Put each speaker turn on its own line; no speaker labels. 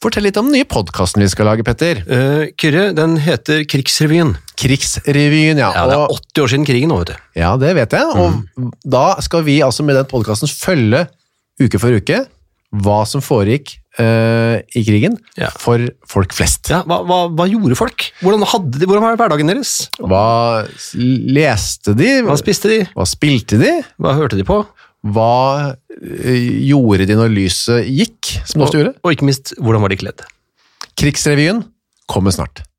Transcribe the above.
Fortell litt om den nye podkasten vi skal lage, Petter.
Eh, Kyrre, den heter Krigsrevyen.
Krigsrevyen, ja.
Ja, det er Mm.
Og-
80 år siden krigen nå, vet du.
ja, det vet jeg. Og da skal vi altså med den podkasten følge uke for uke hva som foregikk eh, i krigen
Ja.
for folk flest.
Ja, hva, hva, hva gjorde folk? Hvordan, hadde de, hvordan var hverdagen deres?
Hva s- leste de?
Hva spiste de?
Hva spilte de?
Hva hørte de på?
Hva eh, gjorde de når lyset gikk, som det ofte gjorde?
Og, og ikke minst, hvordan var de kledd?
Krigsrevyen kommer snart.